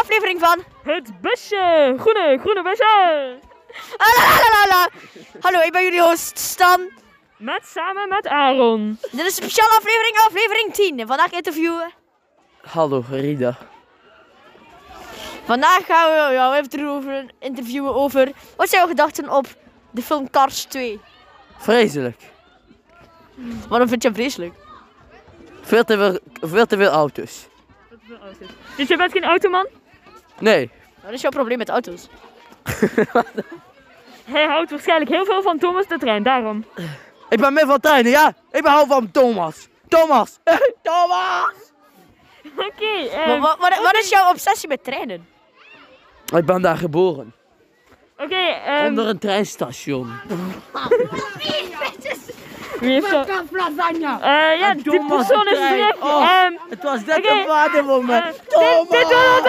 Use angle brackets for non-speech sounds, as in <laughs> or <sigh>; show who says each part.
Speaker 1: aflevering van.
Speaker 2: Het busje. Groene, groene busje.
Speaker 1: Alalalala. Hallo, ik ben jullie host Stan.
Speaker 2: Met samen met Aaron.
Speaker 1: Dit is een speciale aflevering, aflevering 10. En vandaag interviewen.
Speaker 3: Hallo Rida.
Speaker 1: Vandaag gaan we jou even over interviewen over. Wat zijn jouw gedachten op de film Cars 2?
Speaker 3: Vreselijk.
Speaker 1: Waarom vind je hem vreselijk?
Speaker 3: Veel te veel, veel te veel auto's.
Speaker 2: Dus je bent geen automan?
Speaker 3: Nee,
Speaker 1: Wat is jouw probleem met auto's?
Speaker 2: Hij houdt waarschijnlijk heel veel van Thomas de trein, daarom. <laughs>
Speaker 3: ik ben meer van Tijnen, ja? Ik ben hou van Thomas. Thomas! <laughs> Thomas!
Speaker 2: Oké, eh,
Speaker 1: Maar wa- wat, wat is jouw obsessie met treinen?
Speaker 3: Ik ben daar geboren.
Speaker 2: oké, ehm,
Speaker 3: Onder een treinstation.
Speaker 2: wie heeft dat? Eh, ja,
Speaker 3: Een
Speaker 2: die
Speaker 3: domme
Speaker 2: persoon is
Speaker 3: trein.
Speaker 2: terug.
Speaker 3: Oh.
Speaker 2: Ehm,
Speaker 3: Het was net
Speaker 2: Oké.
Speaker 3: een vader voor
Speaker 2: eh,
Speaker 3: me.
Speaker 2: dit, dit wordt